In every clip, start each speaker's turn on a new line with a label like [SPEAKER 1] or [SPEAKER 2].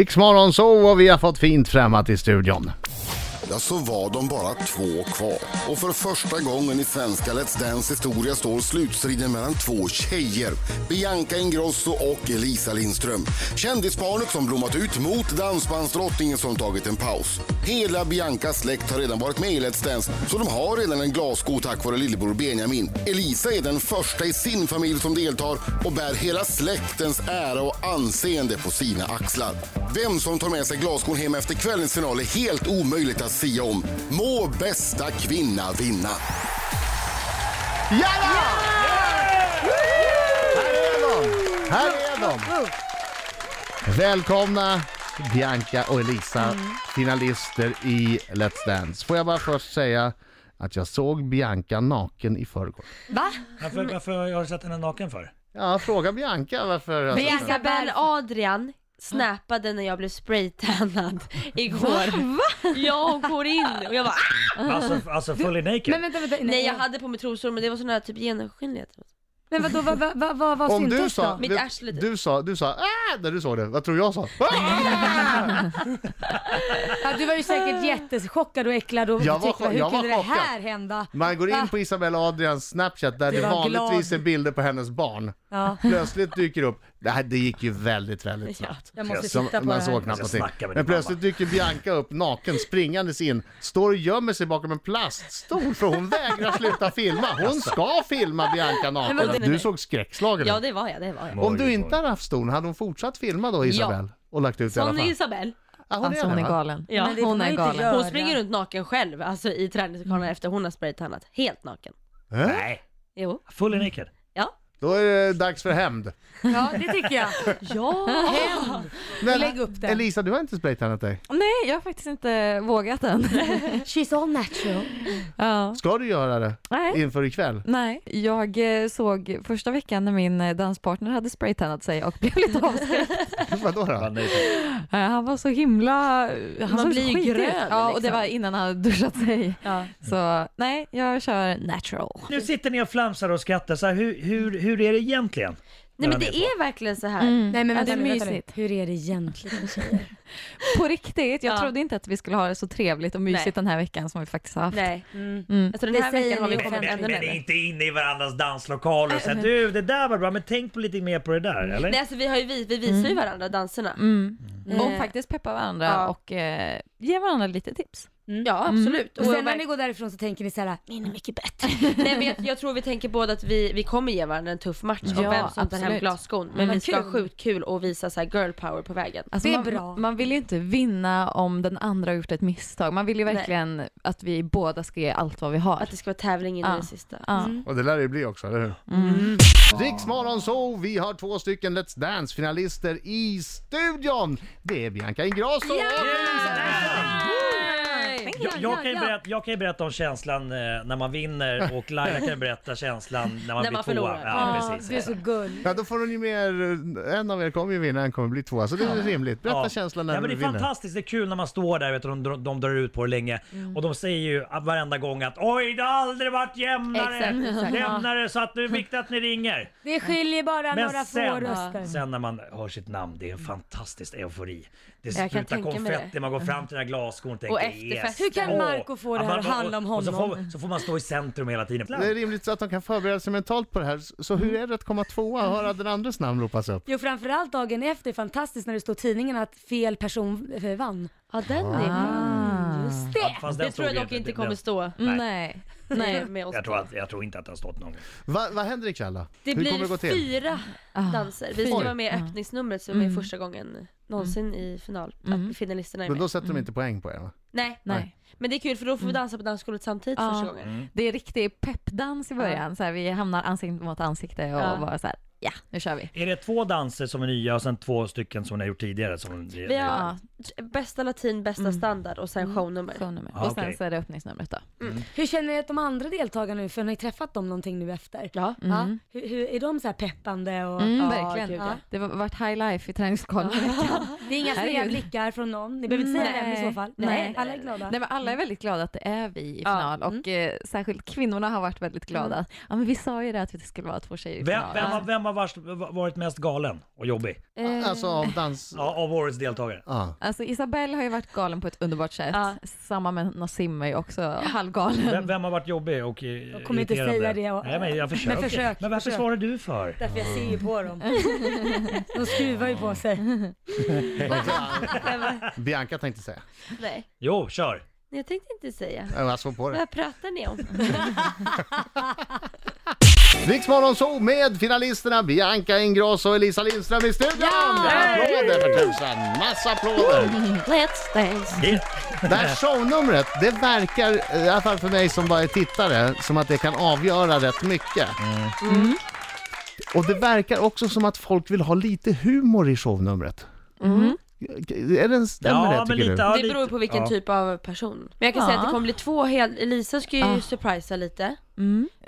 [SPEAKER 1] Riksmorgon så och vi har fått fint främmat i studion.
[SPEAKER 2] Ja, så var de bara två kvar. Och för första gången i svenska Let's Dance historia står slutstriden mellan två tjejer. Bianca Ingrosso och Elisa Lindström. Kändisbarnet som blommat ut mot dansbandsdrottningen som tagit en paus. Hela Biancas släkt har redan varit med i Let's Dance, så de har redan en glasko tack vare lillebror Benjamin. Elisa är den första i sin familj som deltar och bär hela släktens ära och anseende på sina axlar. Vem som tar med sig glaskon hem efter kvällens final är helt omöjligt att sia om. Må bästa kvinna vinna!
[SPEAKER 1] Ja! Här är de! Här är de! Välkomna Bianca och Elisa, finalister i Let's Dance. Får jag bara först säga att jag såg Bianca naken i förrgår.
[SPEAKER 3] Va?
[SPEAKER 4] Varför,
[SPEAKER 3] Mm.
[SPEAKER 4] varför har du sett henne naken för?
[SPEAKER 1] Ja, fråga Bianca varför... jag såg
[SPEAKER 3] Bianca
[SPEAKER 1] henne.
[SPEAKER 3] Ben Adrian snappade när jag blev spraytannad igår. Va? Ja, hon går in och jag bara ah!
[SPEAKER 4] Alltså, alltså fully naked?
[SPEAKER 5] Men vänta, vänta.
[SPEAKER 3] Nej jag hade på mig trosor men det var sån här typ genomskinlighet.
[SPEAKER 5] Men vadå, vad, vad, vad, vad, vad
[SPEAKER 1] Om du
[SPEAKER 5] syntes
[SPEAKER 1] sa,
[SPEAKER 5] då?
[SPEAKER 3] Mitt
[SPEAKER 1] du,
[SPEAKER 3] arsle typ.
[SPEAKER 1] du sa, du sa ah, när du såg det, vad tror jag sa? Ah!
[SPEAKER 5] Ja, du var ju säkert jättechockad och äcklad och
[SPEAKER 1] Jag var
[SPEAKER 5] tyckte,
[SPEAKER 1] chock-
[SPEAKER 5] hur
[SPEAKER 1] jag var
[SPEAKER 5] kunde det här
[SPEAKER 1] chockad."
[SPEAKER 5] hända?
[SPEAKER 1] Man går in på Isabella Adrians Snapchat där
[SPEAKER 5] Du
[SPEAKER 1] det
[SPEAKER 5] var glad.
[SPEAKER 1] vanligtvis är bilder på hennes barn.
[SPEAKER 5] Ja.
[SPEAKER 1] Plötsligt dyker upp, det, här, det gick ju väldigt, väldigt snabbt.
[SPEAKER 5] Jag måste
[SPEAKER 1] Som,
[SPEAKER 5] titta på
[SPEAKER 1] man
[SPEAKER 5] det här.
[SPEAKER 1] såg knappt
[SPEAKER 4] Jag ska snacka
[SPEAKER 1] någonting.
[SPEAKER 4] med
[SPEAKER 1] Men
[SPEAKER 4] din
[SPEAKER 1] plötsligt dyker Bianca upp naken springandes in, står och gömmer sig bakom en plaststol för hon vägrar sluta filma. Hon
[SPEAKER 4] Alltså.
[SPEAKER 1] ska filma Bianca
[SPEAKER 3] Men
[SPEAKER 1] naken.
[SPEAKER 3] vadå?
[SPEAKER 1] Du såg skräckslagen
[SPEAKER 3] Ja
[SPEAKER 1] ut.
[SPEAKER 3] det var jag, det var jag.
[SPEAKER 1] Om du inte hade haft stolen, hade hon fortsatt filma då Isabelle? Och lagt ut i alla
[SPEAKER 3] Hon är
[SPEAKER 1] fall?
[SPEAKER 3] Isabel.
[SPEAKER 1] Ah,
[SPEAKER 6] Alltså hon
[SPEAKER 1] det,
[SPEAKER 6] är
[SPEAKER 1] va?
[SPEAKER 6] galen.
[SPEAKER 3] Ja.
[SPEAKER 5] Men det får
[SPEAKER 6] Hon
[SPEAKER 5] man
[SPEAKER 6] är
[SPEAKER 5] ju inte
[SPEAKER 6] galen.
[SPEAKER 5] göra.
[SPEAKER 3] Hon springer runt naken själv, alltså i träningslokalen efter hon har spraytannat. Helt naken.
[SPEAKER 1] Eh?
[SPEAKER 4] Nej,
[SPEAKER 3] Jo.
[SPEAKER 4] fully naked.
[SPEAKER 3] Ja.
[SPEAKER 1] Då är det dags för hämnd.
[SPEAKER 5] Ja, det tycker jag.
[SPEAKER 3] Ja!
[SPEAKER 1] Men
[SPEAKER 5] Lägg upp den.
[SPEAKER 1] Elisa, du har inte spraytannat dig.
[SPEAKER 6] Nej, jag har faktiskt inte vågat än.
[SPEAKER 5] She's all natural.
[SPEAKER 6] ja.
[SPEAKER 1] Ska du göra det
[SPEAKER 6] Nej.
[SPEAKER 1] inför ikväll?
[SPEAKER 6] Nej, jag eh, såg första veckan när min eh, danspartner hade spraytannat sig och blev lite avskräckt.
[SPEAKER 1] Vadå då?
[SPEAKER 6] Eh, Han var så himla... Han
[SPEAKER 3] Man
[SPEAKER 6] såg
[SPEAKER 3] blir ju
[SPEAKER 6] skitig ut.
[SPEAKER 3] grön,
[SPEAKER 6] Ja, och det
[SPEAKER 3] liksom.
[SPEAKER 6] var innan han hade duschat sig.
[SPEAKER 3] ja.
[SPEAKER 6] Så nej, jag kör natural.
[SPEAKER 4] Nu sitter ni och flamsar och skrattar, så här, hur, hur, hur är det egentligen?
[SPEAKER 3] Nej men
[SPEAKER 4] Mellan
[SPEAKER 3] det
[SPEAKER 4] er två.
[SPEAKER 3] är verkligen så här.
[SPEAKER 5] Nej men
[SPEAKER 6] Ja,
[SPEAKER 5] vänta,
[SPEAKER 6] det är
[SPEAKER 5] nu, vänta nu.
[SPEAKER 6] mysigt.
[SPEAKER 5] Hur är det egentligen tjejer?
[SPEAKER 6] På riktigt, jag
[SPEAKER 3] Ja.
[SPEAKER 6] trodde inte att vi skulle ha det så trevligt och mysigt
[SPEAKER 3] Nej.
[SPEAKER 6] den här veckan som vi faktiskt har haft.
[SPEAKER 3] Nej.
[SPEAKER 6] Mm.
[SPEAKER 3] Alltså den här
[SPEAKER 5] Det säger
[SPEAKER 3] veckan har vi
[SPEAKER 5] ni
[SPEAKER 3] kommit
[SPEAKER 5] offentligt.
[SPEAKER 3] ännu
[SPEAKER 4] Men ni är
[SPEAKER 3] längre.
[SPEAKER 4] inte inne i varandras danslokaler och säger du det där var bra, men tänk på lite mer på det där, eller?
[SPEAKER 3] Nej alltså vi, har ju, vi, vi visar ju varandra danserna.
[SPEAKER 6] Mm.
[SPEAKER 5] Eh,
[SPEAKER 6] Och faktiskt peppa varandra
[SPEAKER 3] ja.
[SPEAKER 6] och eh, ge varandra lite tips.
[SPEAKER 3] Ja
[SPEAKER 5] Och
[SPEAKER 3] absolut. Och
[SPEAKER 5] sen när
[SPEAKER 3] verk-
[SPEAKER 5] ni går därifrån så tänker ni så här, min är mycket bättre.
[SPEAKER 3] Nej, men jag, jag tror vi tänker båda att vi, vi kommer ge varandra en tuff match om
[SPEAKER 6] Ja,
[SPEAKER 3] vem som tar hem
[SPEAKER 6] absolut.
[SPEAKER 3] glasskon. Men
[SPEAKER 5] Vad
[SPEAKER 3] vi ska ha
[SPEAKER 5] kul.
[SPEAKER 3] sjukt kul och visa så här girl power på vägen.
[SPEAKER 6] Alltså
[SPEAKER 5] Det är
[SPEAKER 6] man,
[SPEAKER 5] bra.
[SPEAKER 6] Man vill ju inte vinna om den andra har gjort ett misstag. Man vill ju
[SPEAKER 3] Nej.
[SPEAKER 6] verkligen att vi båda ska ge allt vad vi har.
[SPEAKER 3] Att det ska vara tävling in i
[SPEAKER 6] Ja.
[SPEAKER 3] det sista.
[SPEAKER 6] ja.
[SPEAKER 1] Och det lär det ju bli också, eller hur?
[SPEAKER 4] Mm.
[SPEAKER 1] Riksmorgon så, vi har två stycken Let's Dance-finalister i studion. Det är Bianca Ingrosso och Elisa Lindström.
[SPEAKER 4] Jag, jag, kan ju berätta, jag kan ju berätta om känslan eh, när man vinner och Laila kan ju berätta känslan när man blir
[SPEAKER 3] När
[SPEAKER 4] tvåa.
[SPEAKER 3] man förlorar.
[SPEAKER 4] Ja,
[SPEAKER 5] Du är
[SPEAKER 4] precis.
[SPEAKER 5] så gull.
[SPEAKER 1] Ja, då får hon ju mer, en av er kommer ju vinna, en kommer bli tvåa, så det är väl rimligt. Berätta
[SPEAKER 4] Ja.
[SPEAKER 1] känslan när
[SPEAKER 4] ja, men
[SPEAKER 1] du
[SPEAKER 4] Det är
[SPEAKER 1] vinner.
[SPEAKER 4] fantastiskt, det är kul när man står där vet, du, och de, de drar ut på det länge. Och de säger ju varenda gång att oj det har aldrig varit jämnare,
[SPEAKER 5] Exakt, exakt.
[SPEAKER 4] jämnare så att det är viktigt att ni ringer.
[SPEAKER 5] Det skiljer bara
[SPEAKER 4] Men
[SPEAKER 5] några få
[SPEAKER 4] sen-
[SPEAKER 5] röster.
[SPEAKER 4] Sen när man hör sitt namn, det är en fantastisk eufori. Det
[SPEAKER 3] kan
[SPEAKER 4] sprutar
[SPEAKER 3] tänka mig
[SPEAKER 4] konfetti, man går fram till den här glasskon och tänker
[SPEAKER 3] Och efterfest.
[SPEAKER 5] Hur kan
[SPEAKER 4] åh.
[SPEAKER 5] Marco få det
[SPEAKER 4] Ja,
[SPEAKER 5] här
[SPEAKER 4] man-
[SPEAKER 5] att handla om
[SPEAKER 4] och- och Så
[SPEAKER 5] honom?
[SPEAKER 4] får, så får man stå i centrum hela tiden.
[SPEAKER 1] Det är rimligt att de kan förbereda sig mentalt på det här. Så hur är det att komma tvåa och höra den andres namn ropas upp?
[SPEAKER 5] Jo framförallt dagen efter, fantastiskt när det står i tidningen att fel person eh, vann.
[SPEAKER 3] Ja den är
[SPEAKER 6] Ah.
[SPEAKER 3] Just det.
[SPEAKER 4] Fast den
[SPEAKER 3] Det tror jag
[SPEAKER 4] stod ju
[SPEAKER 3] dock inte
[SPEAKER 4] den-
[SPEAKER 3] kommer
[SPEAKER 4] den-
[SPEAKER 3] stå.
[SPEAKER 4] Nej.
[SPEAKER 6] Nej.
[SPEAKER 3] Nej, med oss.
[SPEAKER 4] Jag tror, att, jag tror inte att det har stått någon gång.
[SPEAKER 1] Va, vad händer ikväll då?
[SPEAKER 3] Det
[SPEAKER 1] hur kommer det gå
[SPEAKER 3] blir
[SPEAKER 1] till?
[SPEAKER 3] fyra
[SPEAKER 6] Ah.
[SPEAKER 3] danser. Vi ska
[SPEAKER 1] Oj.
[SPEAKER 3] vara med i öppningsnumret som är
[SPEAKER 6] Mm.
[SPEAKER 3] första gången någonsin i final.
[SPEAKER 6] Mm.
[SPEAKER 3] Att finalisterna är
[SPEAKER 1] Men
[SPEAKER 3] med.
[SPEAKER 1] då sätter de
[SPEAKER 4] Mm.
[SPEAKER 1] inte poäng på er va?
[SPEAKER 3] Nej.
[SPEAKER 6] Nej.
[SPEAKER 3] Men det är kul för då får vi dansa på dansgolvet samtidigt
[SPEAKER 6] Ja.
[SPEAKER 3] första gången.
[SPEAKER 6] Det är riktig peppdans i början. Så här, vi hamnar ansikte mot ansikte och
[SPEAKER 3] Ja.
[SPEAKER 6] bara så här, ja, nu kör vi.
[SPEAKER 4] Är det två danser som är nya och sen två stycken som ni har gjort tidigare? Som,
[SPEAKER 3] Vi har
[SPEAKER 6] Ja.
[SPEAKER 3] t- bästa latin, bästa standard och sen shownummer.
[SPEAKER 6] Shownummer.
[SPEAKER 4] Ah,
[SPEAKER 6] och sen
[SPEAKER 4] okej.
[SPEAKER 6] så är det öppningsnumret då.
[SPEAKER 5] Hur känner ni att de andra deltagarna nu, för ni har ju träffat dem någonting nu efter? Ja. Mm. Hur, hur, är de så här peppande och?
[SPEAKER 6] Mm,
[SPEAKER 3] Ja,
[SPEAKER 6] verkligen.
[SPEAKER 3] gud, ja.
[SPEAKER 6] Det har varit high life i träningslokalen i veckan.
[SPEAKER 5] Det är inga sneda
[SPEAKER 6] Herregud.
[SPEAKER 5] blickar från någon, ni behöver inte säga vem i så fall.
[SPEAKER 6] Nej.
[SPEAKER 5] Nej, alla är glada.
[SPEAKER 6] Nej, men alla är väldigt glada att det är vi i final och
[SPEAKER 3] Mm.
[SPEAKER 6] eh, särskilt kvinnorna har varit väldigt glada. Ja, men vi sa ju det att det skulle vara två
[SPEAKER 5] Typ.
[SPEAKER 6] tjejer i
[SPEAKER 4] Vem,
[SPEAKER 6] final.
[SPEAKER 4] vem, har, vem har vars- varit mest galen och jobbig
[SPEAKER 1] Alltså av dans...
[SPEAKER 4] ja, av årets deltagare?
[SPEAKER 1] Ah.
[SPEAKER 6] Alltså Isabelle har ju varit galen på ett underbart sätt.
[SPEAKER 3] Ja.
[SPEAKER 6] Samma med Nassim är ju också halvgalen.
[SPEAKER 4] Vem, vem har varit jobbig och Jag
[SPEAKER 5] kommer inte säga det och-
[SPEAKER 4] Nej, men jag försöker. Men,
[SPEAKER 5] försök,
[SPEAKER 4] varför
[SPEAKER 5] försök.
[SPEAKER 4] svarar du för?
[SPEAKER 5] Därför jag ser ju på dem. De skruvar ju på sig.
[SPEAKER 1] Bianca tänkte säga.
[SPEAKER 3] Nej.
[SPEAKER 4] Jo, kör!
[SPEAKER 3] Nej, Jag tänkte inte säga.
[SPEAKER 1] Jag såg på det.
[SPEAKER 3] Vad pratar ni om?
[SPEAKER 1] Riksmorgon så med finalisterna Bianca Ingrosso och Elisa Lindström i studion! Applåder för tusan! Massa applåder!
[SPEAKER 3] Let's dance.
[SPEAKER 4] Det-
[SPEAKER 1] Det här shownumret, det verkar, i alla fall för mig som bara är tittare, som att det kan avgöra rätt mycket.
[SPEAKER 5] Mm.
[SPEAKER 1] Och det verkar också som att folk vill ha lite humor i shownumret.
[SPEAKER 5] Mm.
[SPEAKER 1] Är den, stämmer det tycker du?
[SPEAKER 4] ja,
[SPEAKER 3] det beror på vilken
[SPEAKER 4] ja.
[SPEAKER 3] typ av person. Men jag kan säga att det kommer bli två helt... Elisa ska ju surprisa lite.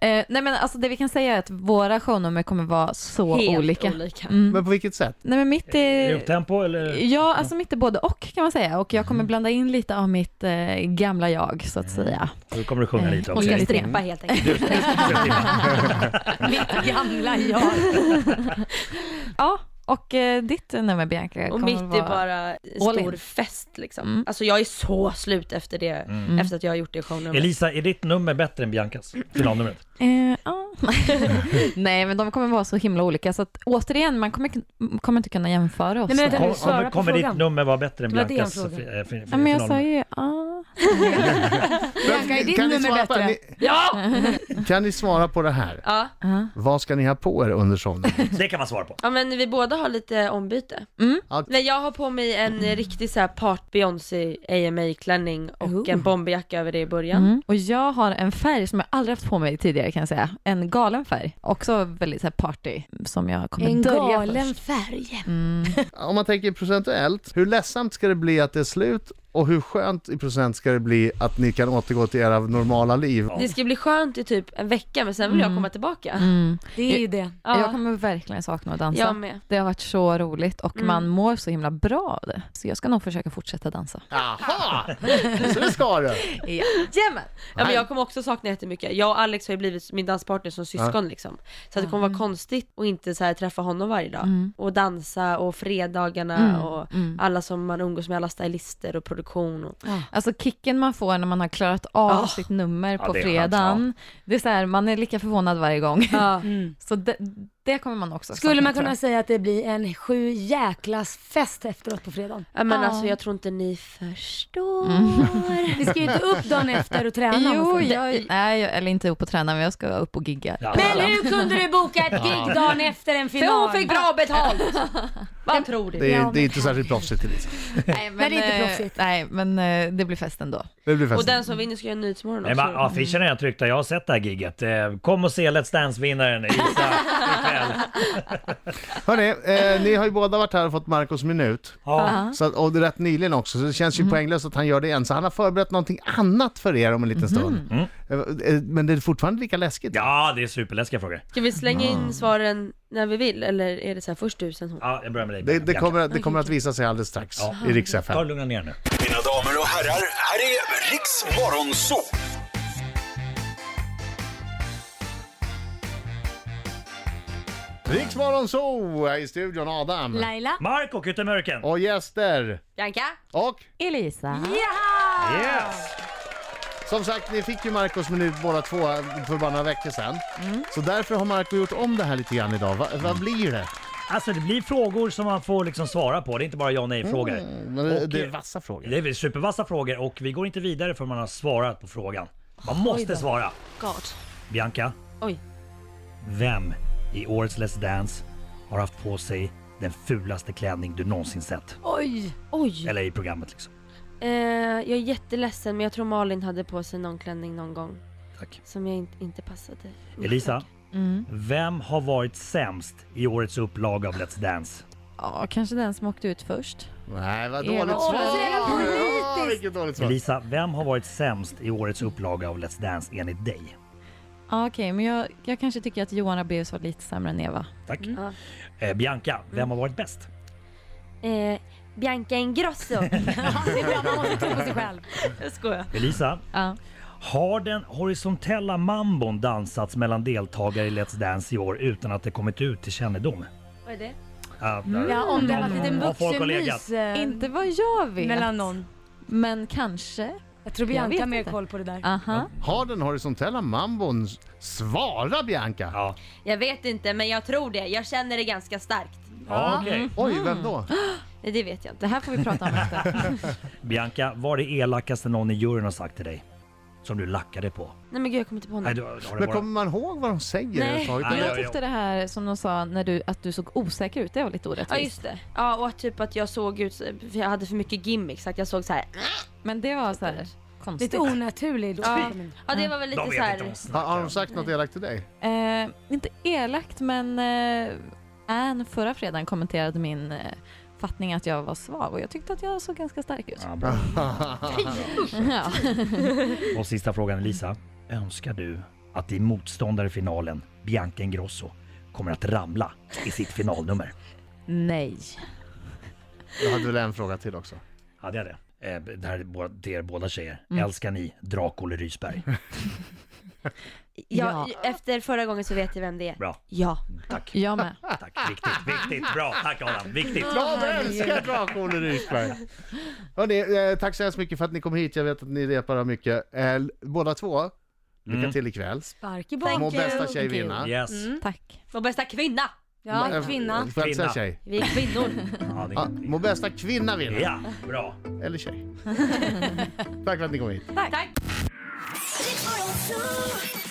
[SPEAKER 6] Eh, nej men alltså det vi kan säga är att våra shownummer kommer vara så
[SPEAKER 3] helt
[SPEAKER 6] olika. Mm.
[SPEAKER 3] olika.
[SPEAKER 5] Mm.
[SPEAKER 1] Men på vilket sätt?
[SPEAKER 6] Nej men mitt
[SPEAKER 4] Är det
[SPEAKER 6] är...
[SPEAKER 4] upptempo eller?
[SPEAKER 6] Ja, alltså mitt är både och kan man säga och jag kommer blanda in lite av mitt eh, gamla jag så att säga.
[SPEAKER 4] Nu kommer du sjunga
[SPEAKER 5] Mm,
[SPEAKER 4] lite
[SPEAKER 6] och
[SPEAKER 4] också.
[SPEAKER 6] ska
[SPEAKER 4] Lite-
[SPEAKER 3] Strepa helt enkelt.
[SPEAKER 5] Mitt gamla jag.
[SPEAKER 6] Ja, och eh, ditt nummer Bianca
[SPEAKER 3] Och
[SPEAKER 6] kommer
[SPEAKER 3] mitt är
[SPEAKER 6] vara...
[SPEAKER 3] bara en
[SPEAKER 6] all
[SPEAKER 3] stor
[SPEAKER 6] in.
[SPEAKER 3] fest liksom.
[SPEAKER 6] Mm.
[SPEAKER 3] Alltså jag är så slut efter det,
[SPEAKER 4] Mm.
[SPEAKER 3] efter att jag har gjort det i shownumret.
[SPEAKER 4] Elisa, är ditt nummer bättre än Biancas? Finalnumret?
[SPEAKER 6] Eh, ja. Nej men de kommer vara så himla olika så att återigen man kommer, kommer inte kunna jämföra oss.
[SPEAKER 5] Nej, men
[SPEAKER 6] där.
[SPEAKER 5] vänta,
[SPEAKER 4] Kommer,
[SPEAKER 5] du svara på
[SPEAKER 4] kommer, kommer ditt
[SPEAKER 5] frågan.
[SPEAKER 4] nummer vara bättre än
[SPEAKER 5] Det var det
[SPEAKER 4] Biancas?
[SPEAKER 5] jag frågade.
[SPEAKER 4] fi- eh, fi-
[SPEAKER 6] ja, men jag sa
[SPEAKER 4] finalnummer?
[SPEAKER 6] ju ja.
[SPEAKER 5] Bianca, är ditt
[SPEAKER 1] Kan ni
[SPEAKER 5] nummer
[SPEAKER 1] svara på-
[SPEAKER 5] bättre?
[SPEAKER 1] ni- Kan ni svara på det här?
[SPEAKER 3] Ja.
[SPEAKER 1] Vad ska ni ha på er under shownumret?
[SPEAKER 4] Det kan man svara på.
[SPEAKER 3] ja men vi båda har lite ombyte.
[SPEAKER 6] Mm.
[SPEAKER 1] Ja.
[SPEAKER 3] Nej jag har på mig en riktig så här part Beyoncé AMA klänning och
[SPEAKER 5] Oh.
[SPEAKER 3] en bomberjacka över det i början.
[SPEAKER 6] Mm. Och jag har en färg som jag aldrig haft på mig tidigare kan jag säga. En galen färg. Också väldigt så här party som jag kommer
[SPEAKER 5] En
[SPEAKER 6] dölja
[SPEAKER 5] galen
[SPEAKER 6] först.
[SPEAKER 5] färg.
[SPEAKER 6] Mm.
[SPEAKER 1] Om man tänker procentuellt, hur ledsamt ska det bli att det är slut och hur skönt i procent ska det bli att ni kan återgå till era normala liv?
[SPEAKER 3] Det ska bli skönt i typ en vecka men sen vill jag komma tillbaka.
[SPEAKER 6] Mm.
[SPEAKER 5] Det är ju det.
[SPEAKER 3] Ja,
[SPEAKER 6] Jag kommer verkligen sakna att dansa.
[SPEAKER 3] jag med.
[SPEAKER 6] Det har varit så roligt och man mår så himla bra av det. Så jag ska nog försöka fortsätta dansa.
[SPEAKER 1] Aha! Så det ska du!
[SPEAKER 3] Jajamän! Ja, men jag kommer också sakna jättemycket. Jag och Alex har ju blivit min danspartner som syskon liksom. Så att det kommer vara konstigt att inte så här, träffa honom varje dag. Och dansa och fredagarna och alla som man umgås med, alla stylister och produktion. Och...
[SPEAKER 6] Alltså kicken man får när man har klarat av
[SPEAKER 3] Ah.
[SPEAKER 6] sitt nummer på
[SPEAKER 4] det är skönt,
[SPEAKER 6] fredagen. Det är så här, man är lika förvånad varje gång. Så det, det kommer man också
[SPEAKER 5] Skulle
[SPEAKER 6] sakna,
[SPEAKER 5] man
[SPEAKER 6] tror
[SPEAKER 5] kunna
[SPEAKER 6] jag.
[SPEAKER 5] säga att det blir en sju jäklas fest efteråt på fredagen?
[SPEAKER 3] Ja, men
[SPEAKER 6] Ja.
[SPEAKER 3] alltså jag tror inte ni förstår.
[SPEAKER 5] Mm. Vi ska ju inte upp dagen efter och träna. om
[SPEAKER 6] Jo,
[SPEAKER 5] man får-
[SPEAKER 6] jag, nej, jag, eller inte upp och träna, men jag ska upp och gigga.
[SPEAKER 4] Ja.
[SPEAKER 5] Men hur kunde du boka ett gig dagen efter en
[SPEAKER 3] För
[SPEAKER 5] final?
[SPEAKER 3] hon fick bra betalt! Vad tror du?
[SPEAKER 1] Det är, det är inte särskilt proffsigt Elisa.
[SPEAKER 6] Nej, men,
[SPEAKER 5] Nej, det är inte
[SPEAKER 6] eh,
[SPEAKER 5] proffsigt.
[SPEAKER 6] Nej, men eh, det blir fest ändå.
[SPEAKER 1] Det blir
[SPEAKER 3] Och
[SPEAKER 1] fest.
[SPEAKER 3] den som vinner ska göra Nyhetsmorgon
[SPEAKER 4] Nej,
[SPEAKER 3] också.
[SPEAKER 4] men affischen är jag tryckt jag har sett det här giget. Eh, Kom och se Let's Dance-vinnaren Isa ikväll.
[SPEAKER 1] Hörrni, eh, ni har ju båda varit här och fått Marcos minut.
[SPEAKER 4] Ja.
[SPEAKER 1] Så, att- och det är rätt nyligen också, så det känns ju poänglöst att han gör det igen. Så han har förberett någonting annat för er om en liten stund. Eh, eh, Men det är fortfarande lika läskigt.
[SPEAKER 4] Mm. ja, det är superläskiga frågor.
[SPEAKER 3] Ska vi slänga in svaren när vi vill eller är det så här först du sen hon?
[SPEAKER 4] Ja, jag börjar med dig.
[SPEAKER 1] Det, det,
[SPEAKER 4] Bianca.
[SPEAKER 1] kommer, att- det kommer att visa sig alldeles strax i Rix
[SPEAKER 4] Ta och
[SPEAKER 1] FM.
[SPEAKER 4] lugna ner nu.
[SPEAKER 7] Mina damer och herrar, här är Riks Morgonzoo!
[SPEAKER 1] Rix Morgonzoo är i studion, Adam.
[SPEAKER 5] Laila?
[SPEAKER 4] Marco Kuttemörken!
[SPEAKER 1] Och gäster.
[SPEAKER 3] Bianca?
[SPEAKER 1] Och
[SPEAKER 6] Elisa.
[SPEAKER 5] Mm.
[SPEAKER 4] Yes!
[SPEAKER 1] Som sagt, ni fick ju Marcos minut båda två för bara några veckor sedan. Så därför har Marco gjort om det här lite grann idag. Va, vad blir det?
[SPEAKER 4] Alltså det blir frågor som man får liksom svara på. Det är inte bara ja och nej-frågor.
[SPEAKER 1] Men det,
[SPEAKER 4] Och,
[SPEAKER 1] det är
[SPEAKER 4] eh,
[SPEAKER 1] vassa frågor.
[SPEAKER 4] Det är väl supervassa frågor och vi går inte vidare förrän man har svarat på frågan. Man måste svara.
[SPEAKER 3] God.
[SPEAKER 4] Bianca,
[SPEAKER 3] Oj.
[SPEAKER 4] vem i årets Let's Dance har haft på sig den fulaste klänning du någonsin sett?
[SPEAKER 5] Oj!
[SPEAKER 3] Oj.
[SPEAKER 4] Eller i programmet liksom.
[SPEAKER 3] Eh, jag är jätteledsen men jag tror Malin hade på sig någon klänning någon gång
[SPEAKER 4] Tack.
[SPEAKER 3] som jag inte, inte passade.
[SPEAKER 4] Elisa, vem har varit sämst i årets upplaga av Let's Dance?
[SPEAKER 6] Ja, kanske den som åkte ut först.
[SPEAKER 1] Nej, vad
[SPEAKER 6] Eva.
[SPEAKER 1] dåligt
[SPEAKER 6] Åh,
[SPEAKER 1] svar!
[SPEAKER 6] det är jävla
[SPEAKER 1] Ja, vilket dåligt svar.
[SPEAKER 4] Elisa, vem har varit sämst i årets upplaga av Let's Dance enligt dig?
[SPEAKER 6] Ja, okej, men jag, jag kanske tycker att Johan Rabaeus var lite sämre än Eva.
[SPEAKER 4] Tack. Eh, Bianca, vem har varit bäst?
[SPEAKER 3] Eh, Bianca Ingrosso.
[SPEAKER 5] Det är bra, man måste tro på sig själv.
[SPEAKER 3] Jag skojar.
[SPEAKER 4] Elisa,
[SPEAKER 6] Ja.
[SPEAKER 4] har den horisontella mambon dansats mellan deltagare i Let's Dance i år utan att det kommit ut till kännedom?
[SPEAKER 3] Vad är det?
[SPEAKER 4] Ja, där-
[SPEAKER 5] Ja, om det var
[SPEAKER 4] Mm.
[SPEAKER 5] en liten
[SPEAKER 4] Har folk kollegat?
[SPEAKER 5] vuxenmys eh,
[SPEAKER 6] Inte vad jag vet,
[SPEAKER 5] mellan någon.
[SPEAKER 6] men kanske.
[SPEAKER 5] Jag tror
[SPEAKER 6] Jag vet
[SPEAKER 5] Bianca har mer
[SPEAKER 6] inte.
[SPEAKER 5] koll på det där.
[SPEAKER 6] Aha.
[SPEAKER 1] Har den horisontella mambon... s- Svara Bianca!
[SPEAKER 4] Ja,
[SPEAKER 3] Jag vet inte men jag tror det. Jag känner det ganska starkt.
[SPEAKER 4] ja okej.
[SPEAKER 1] Oj, vem då?
[SPEAKER 3] Nej, Det vet jag inte.
[SPEAKER 6] Det här får vi prata om efter.
[SPEAKER 4] Bianca, vad är det elakaste någon i juryn har sagt till dig? Som du lackade på?
[SPEAKER 3] Nej men gud jag kommer inte på
[SPEAKER 4] Nej,
[SPEAKER 3] något.
[SPEAKER 4] du, har det
[SPEAKER 1] Men
[SPEAKER 4] bara...
[SPEAKER 1] kommer man ihåg vad de säger? överhuvudtaget?
[SPEAKER 4] Nej,
[SPEAKER 6] Jag tyckte det här som de sa när du, att du såg osäker ut, det var lite
[SPEAKER 3] Ja
[SPEAKER 6] orättvist.
[SPEAKER 3] just det. Ja och att typ att jag såg ut, så- för jag hade för mycket gimmicks, att jag såg så här.
[SPEAKER 6] Men det var så här konstigt.
[SPEAKER 5] Lite onaturlig.
[SPEAKER 3] Ja,
[SPEAKER 5] Ja.
[SPEAKER 3] ja det var väl lite
[SPEAKER 4] Mm. De
[SPEAKER 3] så
[SPEAKER 4] vet inte om de
[SPEAKER 3] här.
[SPEAKER 1] Har, har
[SPEAKER 4] snackar.
[SPEAKER 1] de sagt något elakt till dig?
[SPEAKER 6] Eh, inte elakt, men eh, Ann förra fredagen kommenterade min eh, fattning att jag var svag och jag tyckte att jag såg ganska stark ut.
[SPEAKER 4] Ja, bra.
[SPEAKER 6] Ja.
[SPEAKER 4] Och sista frågan Elisa. Önskar du att din motståndare i finalen, Bianca Ingrosso, kommer att ramla i sitt finalnummer?
[SPEAKER 6] Nej.
[SPEAKER 1] Jag hade väl en fråga till också.
[SPEAKER 4] Ja, det är det. Eh, Det här är bå- till er båda tjejer. Älskar ni Drak-Olle Rysberg?
[SPEAKER 3] Ja,
[SPEAKER 6] Ja.
[SPEAKER 3] Efter förra gången så vet jag vem det är.
[SPEAKER 4] Bra,
[SPEAKER 3] Ja.
[SPEAKER 4] tack.
[SPEAKER 6] Jag med.
[SPEAKER 4] Tack, viktigt, viktigt. Bra, tack Adam. Viktigt.
[SPEAKER 1] Jag älskar Drak-Olle Rysberg! Hörrni, eh, tack så hemskt mycket för att ni kom hit. Jag vet att ni repar och mycket. Eh, båda två, lycka till ikväll.
[SPEAKER 5] Spark i
[SPEAKER 1] Må
[SPEAKER 5] baken.
[SPEAKER 1] bästa tjej vinna.
[SPEAKER 4] Yes.
[SPEAKER 5] Mm.
[SPEAKER 6] Tack.
[SPEAKER 3] Vår bästa kvinna!
[SPEAKER 5] Ja,
[SPEAKER 1] Eh,
[SPEAKER 5] kvinna.
[SPEAKER 1] Får jag inte säga
[SPEAKER 4] Kvinna.
[SPEAKER 1] tjej?
[SPEAKER 3] Vi är kvinnor.
[SPEAKER 4] Ja, det
[SPEAKER 1] Ja,
[SPEAKER 4] är
[SPEAKER 1] må bästa kvinna vinna.
[SPEAKER 4] ja, bra.
[SPEAKER 1] Eller tjej. tack för att ni kom hit.
[SPEAKER 3] Tack.
[SPEAKER 8] Riks Morgonzoo.